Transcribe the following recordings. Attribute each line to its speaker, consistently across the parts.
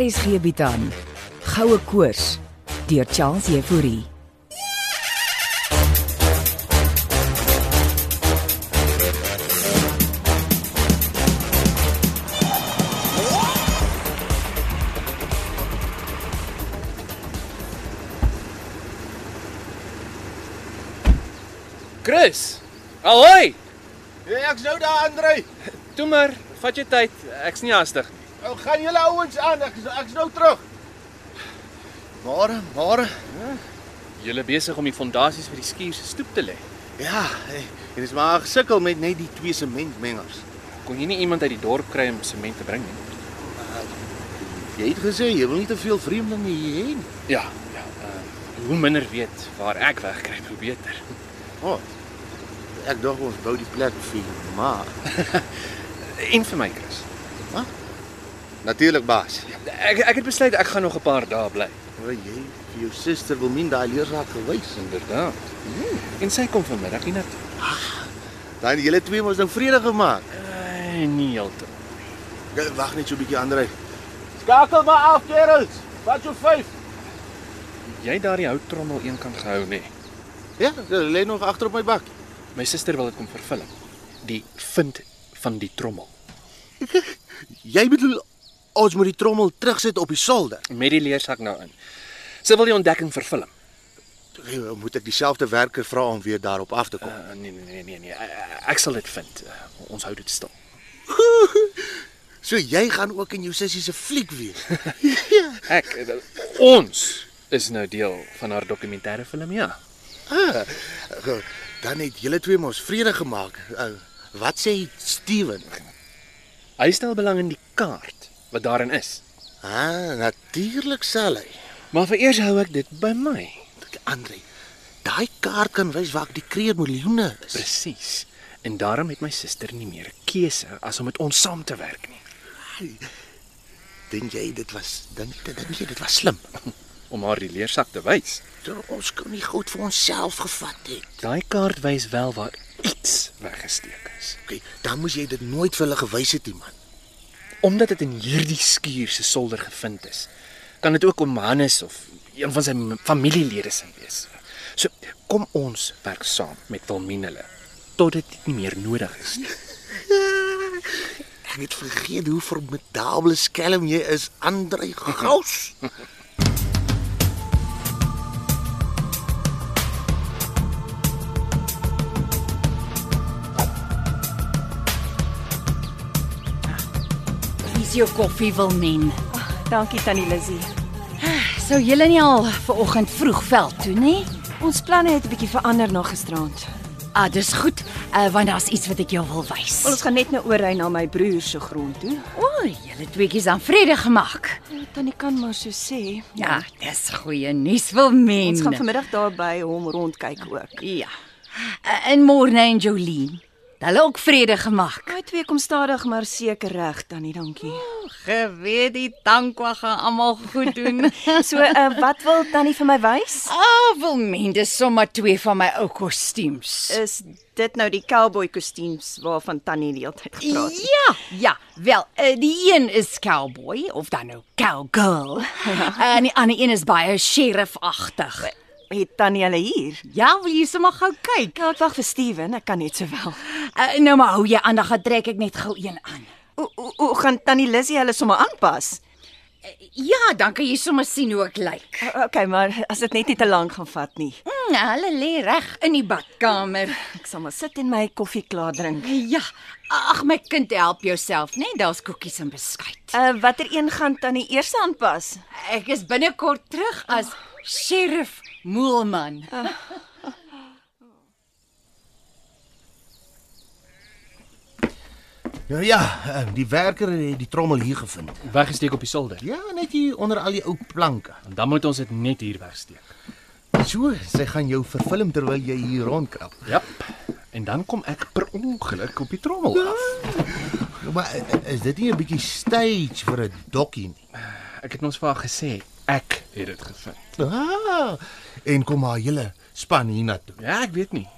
Speaker 1: RSG bied aan Goue Koors deur Charles Euphorie.
Speaker 2: Chris. Alhoi.
Speaker 3: Hey, ek's nou daar Andre.
Speaker 2: Toe maar, vat jou tyd. Ek's nie haastig nie.
Speaker 3: Ou Nou, gaan julle ouens aan. Ek ek's nou terug. Môre, môre.
Speaker 2: Julle besig om die fondasies vir die skuur se stoep te lê.
Speaker 3: Ja, hey, hier is maar gesukkel met net die twee sementmengers.
Speaker 2: Kon jy nie iemand uit die dorp kry om sement te bring nie?
Speaker 3: Jy het gesê jy wil nie te veel vreemdelinge hier hê nie.
Speaker 2: Ja, ja. Uh, hoe minder weet waar ek wegkruip, hoe beter.
Speaker 3: O. Oh, ek dink ons bou die plek vir maar.
Speaker 2: En vir my, Chris.
Speaker 3: Natuurlik baas.
Speaker 2: Ek ek het besluit ek gaan nog 'n paar dae bly.
Speaker 3: Maar jy vir jou suster wil min daai leersaak gewys en
Speaker 2: Inderdaad. En sy kom vanmiddag hier na toe.
Speaker 3: dan julle twee mos nou vrede gemaak.
Speaker 2: Uh, nie heeltemal.
Speaker 3: Ek Wag net so 'n bietjie Andre. Skakel maar af kerels. Wat jou vyf?
Speaker 2: Jy daardie houttrommel eenkant gehou nê.
Speaker 3: Ja, dit lê nog agter op my bak.
Speaker 2: My suster wil dit kom vervul. Die vind van die trommel
Speaker 3: Jy bedoel ons moet die trommel terugsit op die solder.
Speaker 2: met die leersak nou in. Sy wil die ontdekking vervul.
Speaker 3: Toe Moet ek dieselfde werker vra om weer daarop af te kom?
Speaker 2: Uh, nee nee nee nee nee. Ek- Ek sal dit vind. Uh, ons hou dit stil.
Speaker 3: So jy gaan ook in jou sussie se fliek wees.
Speaker 2: Ek eh, ons is nou deel van haar dokumentêre film ja.
Speaker 3: ah, ge- dan het julle twee mos vrede gemaak. Uh, wat sê Steven?
Speaker 2: Hy stel belang in die kaart wat daarin is.
Speaker 3: Ah, natuurlik sal hy.
Speaker 2: Maar vereers hou ek dit by my.
Speaker 3: Andre, daai kaart kan wys waar die kreermiljoene is.
Speaker 2: Presies. En daarom het my suster nie meer 'n keuse as om met ons saam te werk nie.
Speaker 3: Dink jy dit was dink dink jy dit was slim?
Speaker 2: Om haar die leersak te wys.
Speaker 3: Ter, ons kon nie goed vir onsself gevat het.
Speaker 2: Daai kaart wys wel waar iets weggesteek is.
Speaker 3: Okay, dan moes jy dit nooit vir hulle gewys het, die man.
Speaker 2: Omdat dit in hierdie skuur se solder gevind is, kan dit ook om Hannes of een van sy m- familielede se wees. So kom ons werk saam met Wilmien hulle tot dit nie meer nodig is nie.
Speaker 3: Ek het vergeet hoe formidabele skelm jy is, Andre Gous.
Speaker 4: Kies jou koffie wil men.
Speaker 5: Dankie tannie Lizzie.
Speaker 4: Sou julle nie al vanoggend vroeg veld toe nie?
Speaker 5: Ons planne het 'n bietjie verander na gisteraand.
Speaker 4: Ah, dis goed, uh, want daar's iets wat ek jou wil wys.
Speaker 5: Wel, Ons gaan net nou oorry na my broer se grond toe.
Speaker 4: O, oh, julle tweeetjies aan vrede gemaak.
Speaker 5: Tannie kan maar so sê.
Speaker 4: Ja, dis goeie nuus vir men.
Speaker 5: Ons gaan vanmiddag daar by hom rondkyk ook.
Speaker 4: Ja. Uh, en môre en Jolene. Hulle ook vrede gemaak.
Speaker 5: Daai twee kom stadig maar seker reg tannie, dankie.
Speaker 4: Geweet die dankwa gaan almal goed doen.
Speaker 5: So uh, wat wil tannie vir my wys?
Speaker 4: Awelmend, dis Ah, sommer twee van my ou kostuums.
Speaker 5: Is dit nou die cowboy kostuums waarvan tannie die hele tyd gepraat het?
Speaker 4: Ja, ja, wel, eh, die een is cowboy of dan nou cowgirl. Eh, En die ander een is baie sheriff-agtig.
Speaker 5: Het tannie hulle hier?
Speaker 4: Ja, wil jy sommer gou kyk?
Speaker 5: Ja, ek wag vir Steven, ek kan net sowel.
Speaker 4: Eh, Nou maar hou jy aan, dan gaan trek ek net gou een aan.
Speaker 5: O, o, o, gaan tannie Lizzie hulle sommer aanpas?
Speaker 4: Ja, dan kan jy sommer sien hoe ek lyk.
Speaker 5: O, Okay, maar as dit net nie te lank gaan vat nie.
Speaker 4: Mm, hulle lê reg in die badkamer.
Speaker 5: Ek sal maar sit en my koffie klaar drink.
Speaker 4: Ja, ag my kind, help jouself, né? Nee, Daar's koekies en beskuit.
Speaker 5: Uh watter een gaan tannie eers aanpas?
Speaker 4: Ek is binnekort terug as sheriff Moelman.
Speaker 3: Nou ja, eh, die werker het die trommel hier gevind.
Speaker 2: Weggesteek op die solder.
Speaker 3: Ja, net hier onder al die ou planke.
Speaker 2: En dan moet ons dit net hier wegsteek.
Speaker 3: So, sy gaan jou vervilm terwyl jy hier rondkrap.
Speaker 2: Ja. En dan kom ek per ongeluk op die trommel af.
Speaker 3: Nou, maar eh, is dit nie 'n bietjie stage vir 'n dokkie nie?
Speaker 2: Ek het ons vir haar gesê ek het dit gevind.
Speaker 3: Ah, en kom maar julle span hiernatoe.
Speaker 2: Ja, ek weet nie.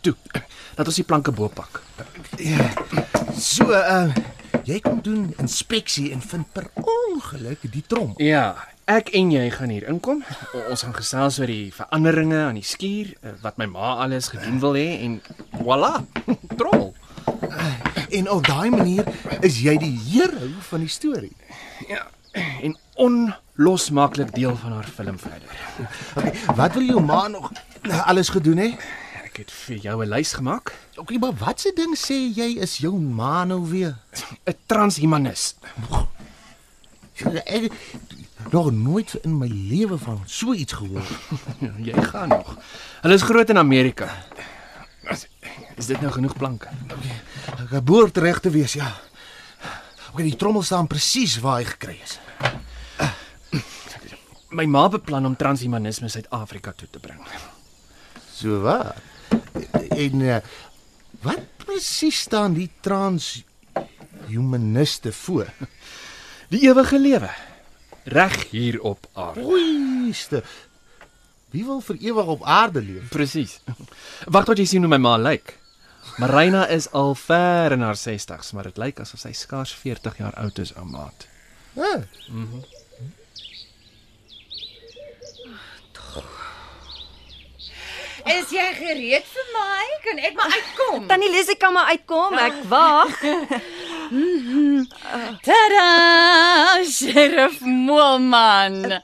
Speaker 2: Toe, laat ons die planke bo pak.
Speaker 3: eh, So, uh, jy kom doen inspeksie en vind per ongeluk die trom.
Speaker 2: Ja, ek en jy gaan hier inkom. O- Ons gaan gesels oor die veranderinge aan die skuur, eh, wat my ma alles gedoen wil hê en voilà, trol.
Speaker 3: En op daai manier is jy die hero van die storie.
Speaker 2: Ja, en onlosmaaklik deel van haar film verder.
Speaker 3: Okay, wat wil jou ma nog alles gedoen hè?
Speaker 2: Ek het vir jou 'n lys gemaak,
Speaker 3: Okay, maar watse ding sê jy is jou ma nou weer?
Speaker 2: 'n transhumanis.
Speaker 3: Ek het nog nooit in my lewe van so iets gehoor.
Speaker 2: Ja, Jy gaan nog. Hulle is groot in Amerika. Is- Is dit nou genoeg planke?
Speaker 3: Geboortereg te wees, ja. Okay, die trommel staan presies waar hy gekry is.
Speaker 2: My ma beplan om transhumanisme Suid-Afrika toe te bring.
Speaker 3: So waar. En uh, wat presies staan die trans humaniste voor?
Speaker 2: Die ewige lewe reg hier op aarde.
Speaker 3: Oeieste. Wie wil vir ewig op aarde leef?
Speaker 2: Presies. Wag tot jy sien hoe my ma lyk. Marina is al ver in haar 60's, maar dit lyk asof sy skaars 40 jaar oud is, ou maat.
Speaker 3: Hæ?
Speaker 4: Is jy gereed vir my? Kan ek maar uitkom?
Speaker 5: Tannie Lesie kan maar uitkom. Ek wag.
Speaker 4: Tada! Sheriff Moelman.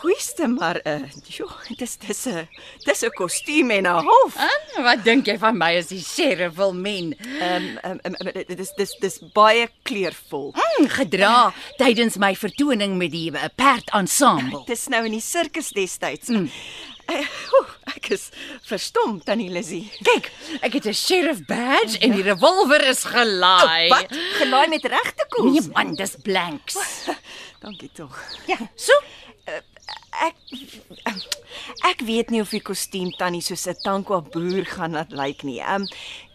Speaker 5: Goeieste maar uh, joh, dis dis 'n dis 'n kostuum en 'n hof.
Speaker 4: En wat dink jy van my as die sheriff wil men?
Speaker 5: Ehm ehm, ehm, ehm, dis dis dis baie kleurvol.
Speaker 4: Hmm, gedra tydens my vertoning met die eh, perd ensemble.
Speaker 5: Dis nou in die sirkus destyds. Mm. Uh, ek is verstom Tannie Lesie.
Speaker 4: Kyk, ek het 'n sheriff badge en die revolver is gelaai.
Speaker 5: Wat gelaai met regte koels.
Speaker 4: Nee man, dis blanks.
Speaker 5: Dankie tog.
Speaker 4: Ja, so.
Speaker 5: Ek ek weet nie of die kostuum tannie soos 'n tankwa boer gaan laat lyk nie. Ehm um,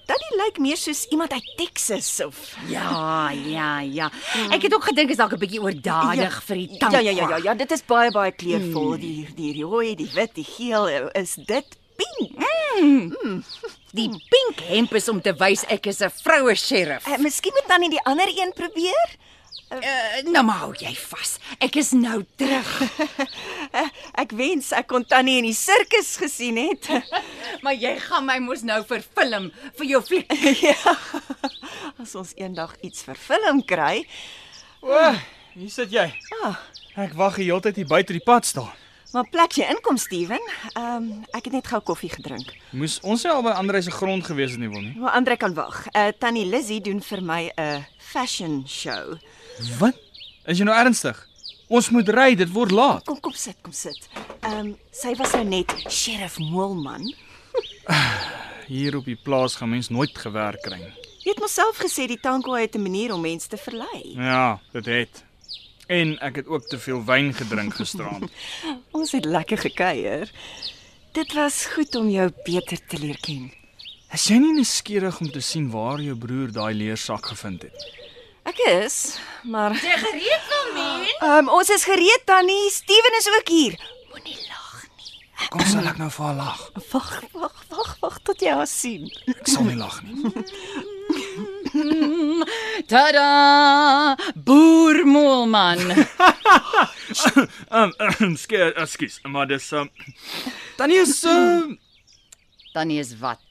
Speaker 5: tannie lyk meer soos iemand uit Texas of
Speaker 4: Ja, ja, ja. Ek het ook gedink is dalk 'n bietjie oordadig ja, vir die tank. Hmm.
Speaker 5: Ja ja ja ja, ja dit is baie baie kleurvol. Mm. Die die rooi, die wit, die geel eh, is dit pink.
Speaker 4: Die pink hemp is om te wys ek is 'n vroue sheriff.
Speaker 5: Uh, miskien moet tannie die ander een probeer.
Speaker 4: Uh, nou maar hou jy vas. Ek is nou terug.
Speaker 5: Uh, ek wens ek kon tannie in die sirkus gesien het.
Speaker 4: maar jy gaan my mos nou verfilm vir jou fliek.
Speaker 5: ja. As ons eendag iets vir film kry.
Speaker 6: Hier sit jy.
Speaker 5: Ah.
Speaker 6: Ek wag die hele tyd hier buite die pad staan.
Speaker 5: Maar plek jy inkom Steven. Ehm um, ek het net gou koffie gedrink.
Speaker 6: Moes ons nie al by Andre se grond gewees het nie, wil nie.
Speaker 5: Maar Nou, Andre kan wag. Eh uh, Tannie Lizzy doen vir my 'n fashion show.
Speaker 6: Wat? Is jy nou ernstig? Ons moet ry, dit word laat.
Speaker 5: Kom kom sit, kom sit. Ehm um, sy was nou net Sheriff Moelman.
Speaker 6: Hier op die plaas gaan mens nooit gewerk kry nie.
Speaker 5: Jy het myself gesê die tankwa het 'n manier om mense te verlei.
Speaker 6: Ja, dit het. En ek het ook te veel wyn gedrink gisteraand.
Speaker 5: Ons het lekker gekuier. Dit was goed om jou beter te leer ken.
Speaker 6: Is jy nie nuuskierig om te sien waar jou broer daai leersak gevind het?
Speaker 5: Ek is, maar
Speaker 4: Jy gereed wil men?
Speaker 5: ehm um, ons is gereed Tannie. Steven is ook hier. Moenie lag nie.
Speaker 6: Kom sal ek nou vir haar lag.
Speaker 5: Wag, wag, wag, wag tot jy haar sien.
Speaker 6: Ek sal nie lag nie.
Speaker 4: Tada! Boer Moelman.
Speaker 6: Ehm, um, ekskuus, maar dis um, Tannie is um,
Speaker 4: Dan is wat.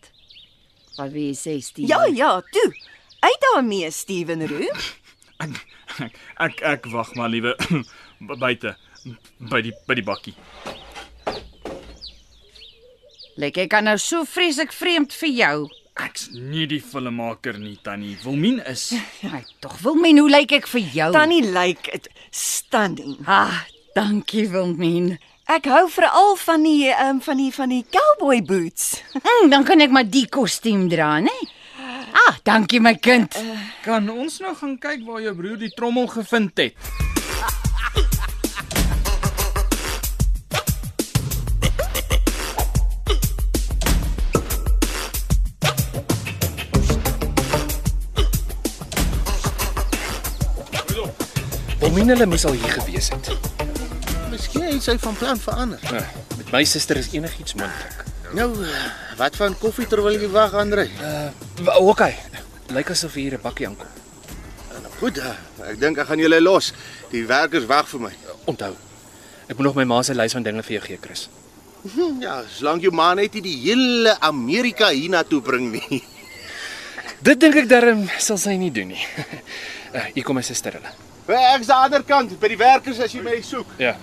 Speaker 4: Wat wil jy sê, Steve?
Speaker 5: Ja, ja, toe. Uit daarmee Steven Roo.
Speaker 6: Ek ek ek, ek wag maar liewe bu- buite by die by die bakkie.
Speaker 4: Lek ek kan nou so vreeslik vreemd vir jou.
Speaker 6: Ek's nie die filmmaker nie, Tannie. Wilmien is
Speaker 4: Maar tog wil men hoe lyk ek vir jou?
Speaker 5: Tannie lyk like stunning.
Speaker 4: Ah, dankie Wilmien.
Speaker 5: Ek hou veral van die um, van die van die cowboy boots.
Speaker 4: Mm, dan kan ek maar die kostuum dra, né? Ah, dankie my kind.
Speaker 6: Kan ons nou gaan kyk waar jou broer die trommel gevind het?
Speaker 2: Bomien hulle moes al hier gewees het.
Speaker 7: Miskien het sy van plan verander.
Speaker 2: Eh, Met my suster is enigiets moontlik.
Speaker 7: Nou, wat van koffie terwyl jy wag, Andre?
Speaker 2: Oké. Okay. Lyk asof hier 'n bakkie aankom.
Speaker 7: Goed,
Speaker 3: Goed, eh, ek dink ek gaan julle los. Die werk is weg vir my.
Speaker 2: Onthou. Ek moet nog my ma se lys van dinge vir jou gee, Chris.
Speaker 3: Hm, Ja, solank jou ma net nie die hele Amerika hiernatoe bring nie.
Speaker 2: Dit dink ek darm sal sy nie doen nie. Eh, Hier kom my suster hulle.
Speaker 3: Ek is aan die ander kant by die werkers as jy my soek.
Speaker 2: Ja.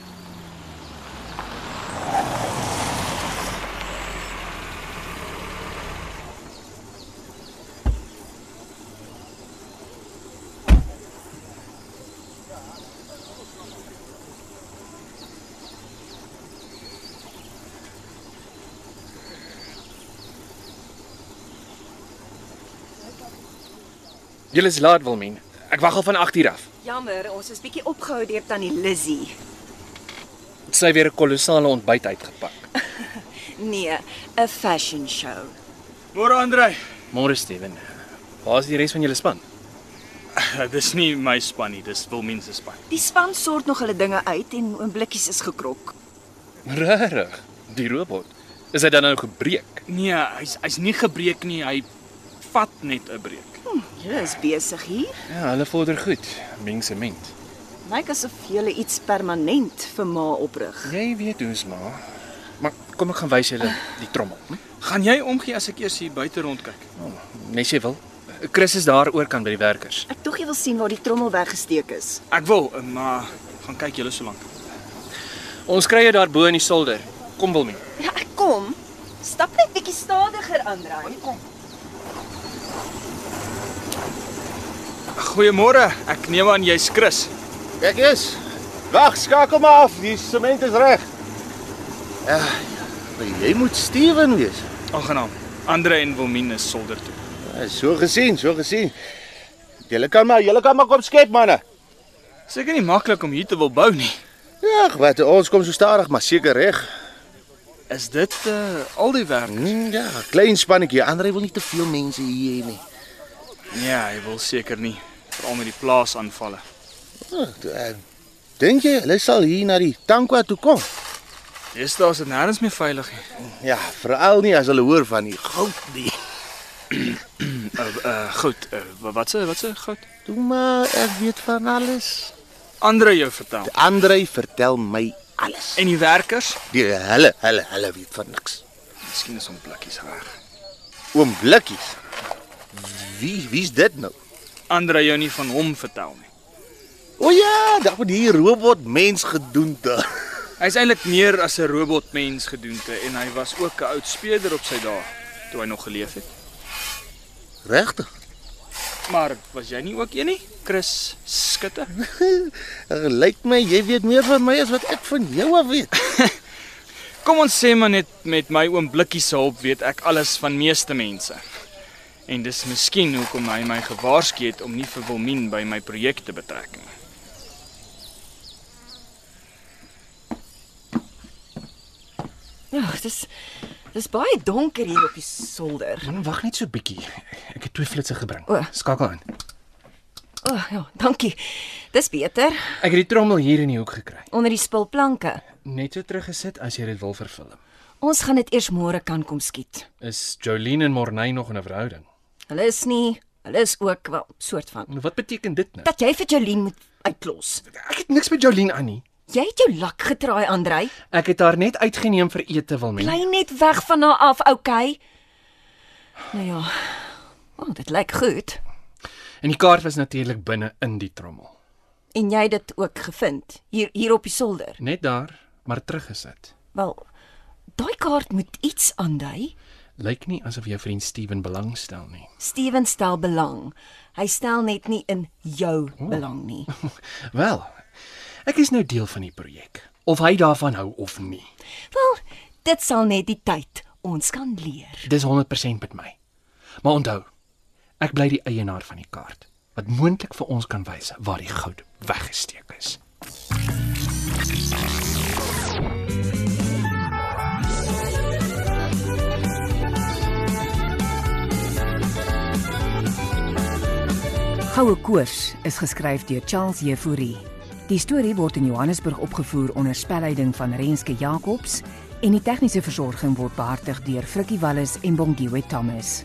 Speaker 2: Julle is laat, Wilmien. Ek wag al van 8 uur af.
Speaker 5: Jammer, ons is bietjie opgehou deur tannie Lizzy.
Speaker 2: Sy weer 'n kolossale ontbyt uitgepak.
Speaker 5: Nee, 'n fashion show.
Speaker 6: Môre Andrej.
Speaker 2: Môre Steven. Waar is die res van julle span?
Speaker 6: Eh, Dis nie my span nie, dis Wilmien se span.
Speaker 5: Die span sort nog hulle dinge uit en oomblikkies is gekrok.
Speaker 2: Regtig? Die robot. Is hy dan nou gebreek?
Speaker 6: Nee, hy's hy's nie gebreek nie, hy vat net 'n breek.
Speaker 5: Julle is besig hier.
Speaker 2: Ja, hulle vorder goed. Meng sement.
Speaker 5: Lyk asof julle iets permanent vir ma oprig.
Speaker 2: Jy weet hoe's maar. Maar kom ek gaan wys julle die trommel. Hm?
Speaker 6: Gaan jy omgee as ek eers hier buite rondkyk?
Speaker 2: Net as jy wil. Chris is daar oor kan by die werkers.
Speaker 5: Ek tog jy wil sien waar die trommel weggesteek is.
Speaker 6: Ek wil, eh, maar gaan kyk julle so lank.
Speaker 2: Ons kry jou daar bo in die solder. Kom Wilmien.
Speaker 5: Ja, ek kom. Stap net bietjie stadiger, Andrej. Kom.
Speaker 6: Goeiemôre. Ek neem aan jy's Chris.
Speaker 3: Ek is. Wag, skakel maar af. Die sement is reg. Ja, maar jy moet Steven wees.
Speaker 6: Aangenaam. Andre en Wilmien is solder toe.
Speaker 3: Ja, So gesien, so gesien. Julle kan maar, julle kan maar kom skep manne.
Speaker 6: Seker nie maklik om hier te wil bou nie.
Speaker 3: Ja, wat ons kom so stadig maar seker reg.
Speaker 6: Is dit uh al die werk?
Speaker 3: Hm, ja, klein spannetjie. Andre wil nie te veel mense hier hê nie.
Speaker 6: Nee, hy wil seker nie veral met die plaasaanvalle.
Speaker 3: Ja, d- eh, Dink jy hulle sal hier na die Tankwa toe kom?
Speaker 6: Deesdae is dit nêrens meer veilig nie.
Speaker 3: Ja, veral nie as hulle hoor van die goud nie.
Speaker 6: Uh, uh goed. Uh, wa- wat se wat se goed?
Speaker 3: Toe maar, ek weet van alles.
Speaker 6: Andre jou vertel.
Speaker 3: Andre vertel my alles.
Speaker 6: En die werkers?
Speaker 3: Die hulle, hulle, hulle weet van niks.
Speaker 6: Miskien is hom blikkies reg.
Speaker 3: Oom Blikkies. Wie wie's dit nou?
Speaker 6: Andre jou nie van hom vertel nie.
Speaker 3: O ja, daar word hier robot mens gedoente.
Speaker 6: Hy's eintlik meer as 'n robotmens gedoente en hy was ook 'n oud speeder op sy dae toe hy nog geleef het.
Speaker 3: Regtig?
Speaker 6: Maar was jy nie ook een nie? Chris Skutte.
Speaker 3: Lyk my jy weet meer van my as wat ek van jou af weet.
Speaker 6: Kom ons sê maar net met my oom Blikkie se hulp weet ek alles van meeste mense. En dis miskien hoekom hy my gewaarsku het om nie vir Wilmien by my projek te betrek nie.
Speaker 5: Ja, dis dis baie donker hier op die solder.
Speaker 2: Wag net so bietjie. Ek het twee flitsse gebring.
Speaker 5: O.
Speaker 2: Skakel aan.
Speaker 5: O, oh, ja, dankie. Dis beter
Speaker 2: Ek het die trommel hier in die hoek gekry.
Speaker 5: onder die spulplanke.
Speaker 2: Net so teruggesit as jy dit wil vervilm.
Speaker 5: Ons gaan dit eers môre kan kom skiet.
Speaker 2: Is Jolene en Morney nog in 'n verhouding?
Speaker 5: Hulle is nie, hulle is ook wel soort van.
Speaker 2: Wat beteken dit nou?
Speaker 5: Dat jy vir Jolien moet uitklos.
Speaker 2: Ek het niks met Jolene aan nie.
Speaker 5: Jy het jou lak getraai, Andrej.
Speaker 2: Ek het haar net uitgeneem vir ete wil men.
Speaker 5: Bly net weg van haar af, okay? Nou ja. O, oh, dit lyk goed.
Speaker 2: En die kaart was natuurlik binne in die trommel.
Speaker 5: En jy het dit ook gevind hier hier op die solder.
Speaker 2: Net daar, maar teruggesit.
Speaker 5: Wel, daai kaart moet iets aandui.
Speaker 2: Lyk nie asof jou vriend Steven belangstel nie.
Speaker 5: Steven stel belang. Hy stel net nie in jou belang nie.
Speaker 2: Wel, ek is nou deel van die projek, of hy daarvan hou of nie.
Speaker 5: Wel, dit sal net die tyd ons kan leer.
Speaker 2: Dis 100% met my. Maar onthou, ek bly die eienaar van die kaart wat moontlik vir ons kan wys waar die goud weggesteek is.
Speaker 1: Goue Koors is geskryf deur Charles Jefouri. Die storie word in Johannesburg opgevoer onder spelleiding van Renske Jacobs en die tegniese versorging word behartig deur Frikkie Wallis en Bongwe Thomas.